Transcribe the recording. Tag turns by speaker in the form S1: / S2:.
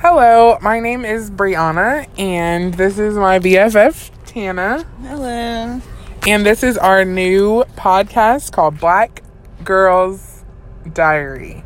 S1: Hello, my name is Brianna, and this is my BFF, Tana.
S2: Hello.
S1: And this is our new podcast called Black Girls Diary.